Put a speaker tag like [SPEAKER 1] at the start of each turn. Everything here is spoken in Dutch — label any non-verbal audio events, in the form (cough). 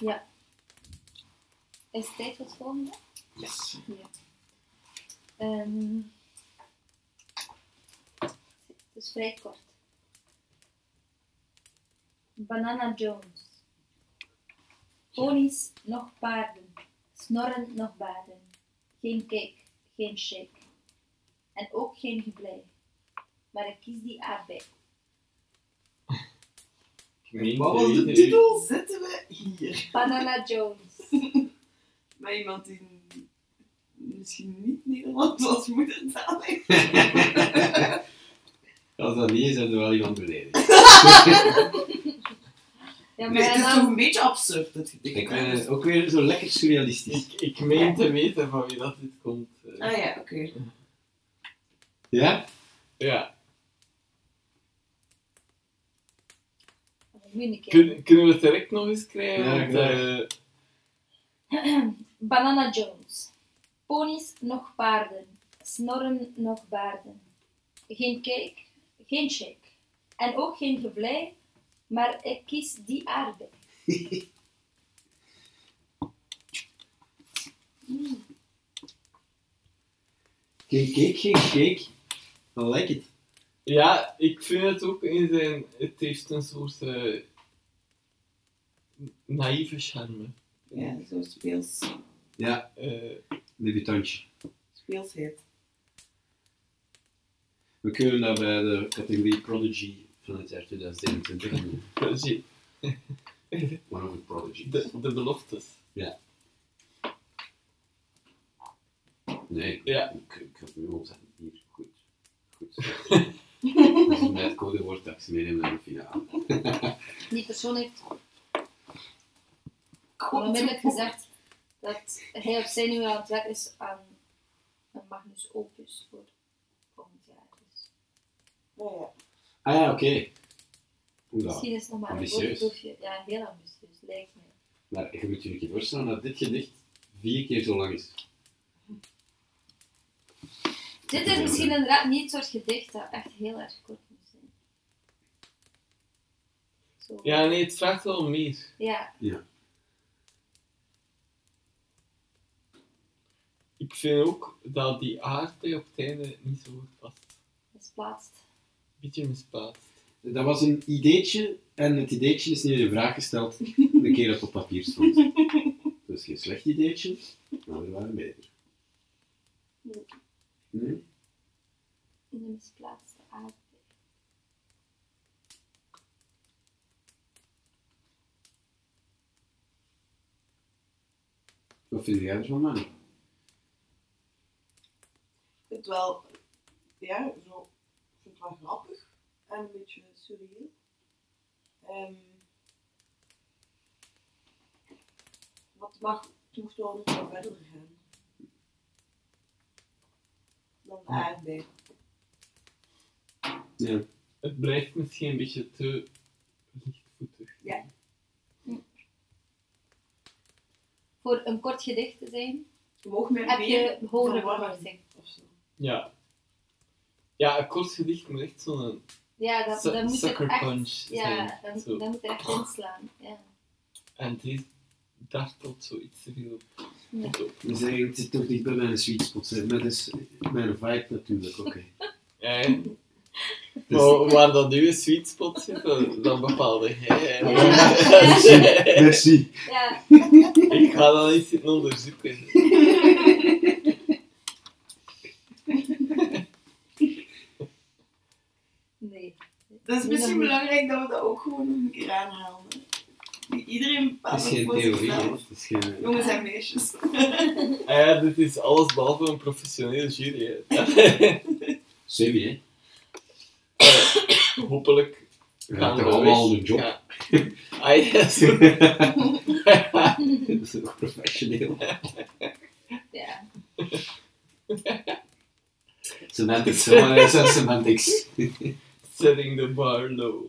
[SPEAKER 1] Ja. Is het tijd voor het volgende?
[SPEAKER 2] Yes.
[SPEAKER 1] Ja. Ehm, het is vrij kort. Banana Jones. Ponies nog paarden. Snorren nog baden. Geen cake, geen shake. En ook geen geblij. Maar ik kies die aardbei.
[SPEAKER 2] Geen
[SPEAKER 3] Wat was de
[SPEAKER 2] idee.
[SPEAKER 3] titel? Zitten we hier?
[SPEAKER 1] Banana Jones.
[SPEAKER 3] Met iemand die misschien niet Nederlands als moedertaal heeft.
[SPEAKER 2] Als dat niet is, hebben we wel iemand beledigd.
[SPEAKER 1] Ja,
[SPEAKER 3] Nee,
[SPEAKER 1] maar
[SPEAKER 3] het is toch
[SPEAKER 1] dan,
[SPEAKER 3] een beetje absurd, dat gedicht.
[SPEAKER 2] Ik ben eh, ook weer zo lekker surrealistisch.
[SPEAKER 4] Ik, ik meen te weten van wie dat dit komt. eh.
[SPEAKER 3] Ah ja, oké.
[SPEAKER 2] Ja?
[SPEAKER 4] Ja.
[SPEAKER 1] Oh, nu een keer.
[SPEAKER 4] Kun- kunnen we het direct nog eens krijgen?
[SPEAKER 2] Ja,
[SPEAKER 4] Want,
[SPEAKER 2] graag.
[SPEAKER 4] eh,
[SPEAKER 1] Banana Jones. Ponies nog paarden, snorren nog baarden. Geen cake, geen shake. En ook geen gevlei, maar ik kies die aarde.
[SPEAKER 2] Geen cake, geen cake. I like it.
[SPEAKER 4] ja, ik vind het ook in zijn... Het heeft een soort... eh, naïeve charme.
[SPEAKER 3] Ja, zo speels,
[SPEAKER 2] Ja,
[SPEAKER 4] Eh,
[SPEAKER 2] debutantje.
[SPEAKER 3] speelsheid.
[SPEAKER 2] We kunnen dat bij de categorie Prodigy van het jaar 2021 doen.
[SPEAKER 4] dat is-
[SPEAKER 2] One over Prodigy.
[SPEAKER 4] de, de beloftes.
[SPEAKER 2] Nee,
[SPEAKER 4] Ja.
[SPEAKER 2] ik, ik ga het nu opzetten. Hier, goed. Goed. Dat is bij het codewoord dat ik ze meeneem naar de finale.
[SPEAKER 1] Die persoon heeft onmiddellijk
[SPEAKER 3] Goed.
[SPEAKER 1] gezegd dat hij of zij nu aan het werk is aan een Magnus Opus voor volgend jaar. Dus
[SPEAKER 3] Nou ja.
[SPEAKER 2] Ah ja, oké. Hoe dan?
[SPEAKER 1] misschien is het nog maar een
[SPEAKER 2] ambitieus.
[SPEAKER 1] voorproefje. Ja, heel ambitieus, lijkt mij.
[SPEAKER 2] Maar je moet je een keer voorstellen dat dit gedicht vier keer zo lang is.
[SPEAKER 1] Dit is misschien inderdaad niet het soort gedicht dat echt heel erg kort moet zijn. Zo.
[SPEAKER 4] Ja, nee, het vraagt wel om meer.
[SPEAKER 1] Ja,
[SPEAKER 4] Ik vind ook dat die aarde op het einde niet zo goed past.
[SPEAKER 1] misplaatst.
[SPEAKER 4] Een beetje misplaatst.
[SPEAKER 2] Dat was een ideetje en het ideetje is nu in vraag gesteld de keer dat het op papier stond. Dus geen slecht ideetje, maar we waren beter.
[SPEAKER 1] Nee.
[SPEAKER 2] Nee?
[SPEAKER 1] In de misplaatste aarde.
[SPEAKER 2] Wat vind jij ervan, man?
[SPEAKER 3] Ik vind het wel, ja, zo, ik vind het wel grappig en een beetje surreal. Ehm, maar het, mag, het mocht wel nog wel verder gaan. Dan de aardbei.
[SPEAKER 2] Ja.
[SPEAKER 4] Het blijft misschien een beetje te lichtvoetig.
[SPEAKER 1] Voor een kort gedicht te zijn,
[SPEAKER 3] Je mag mij
[SPEAKER 1] heb
[SPEAKER 3] meer
[SPEAKER 1] je hogere
[SPEAKER 3] verwarren
[SPEAKER 1] verwachting.
[SPEAKER 3] of zo.
[SPEAKER 4] Ja. Ja, een kort gedicht moet echt zo'n
[SPEAKER 1] Ja, dat,
[SPEAKER 4] su-
[SPEAKER 1] dat moet het
[SPEAKER 4] sucker
[SPEAKER 1] echt...
[SPEAKER 4] punch
[SPEAKER 1] ja,
[SPEAKER 4] zijn.
[SPEAKER 1] dat,
[SPEAKER 4] Zo.
[SPEAKER 1] dat moet er echt inslaan. Ja.
[SPEAKER 4] En deze dartelt zoiets te veel op.
[SPEAKER 1] Ja.
[SPEAKER 4] op.
[SPEAKER 2] Dus eigenlijk zit toch niet bij mijn sweet spot. Hè. Maar dat is mijn vibe natuurlijk ook. hè.
[SPEAKER 4] En,
[SPEAKER 2] Dus-
[SPEAKER 4] waar- waar dat uw sweet spot zit, dat, dat bepaalde jij. hè.
[SPEAKER 2] Dus- Merci.
[SPEAKER 1] Ja,
[SPEAKER 4] Ik ga dat eens zitten onderzoeken.
[SPEAKER 1] nee.
[SPEAKER 3] Dat is
[SPEAKER 1] Ja,
[SPEAKER 3] misschien
[SPEAKER 1] dan-
[SPEAKER 3] belangrijk dat we dat ook gewoon nog een keer aanhalen. Niet Iedereen
[SPEAKER 2] Het
[SPEAKER 3] bepaalt
[SPEAKER 2] is
[SPEAKER 3] het
[SPEAKER 2] geen
[SPEAKER 3] voor
[SPEAKER 2] theorie. hè.
[SPEAKER 3] zichzelf.
[SPEAKER 2] Het is geen... eh,
[SPEAKER 3] Jongens en meisjes.
[SPEAKER 4] Ah Ja, dit is alles behalve een professionele jury. hè.
[SPEAKER 2] Semi, hè. (laughs)
[SPEAKER 4] Eh, Hopelijk
[SPEAKER 2] We gaan
[SPEAKER 4] gaan we
[SPEAKER 2] toch
[SPEAKER 4] weg.
[SPEAKER 2] allemaal de job.
[SPEAKER 4] Ja. Ah,
[SPEAKER 2] (laughs)
[SPEAKER 4] ja, zo.
[SPEAKER 2] Dat is toch professioneel.
[SPEAKER 1] Ja.
[SPEAKER 2] Semantics. hè, maar dat zijn semantics.
[SPEAKER 4] Setting the bar low.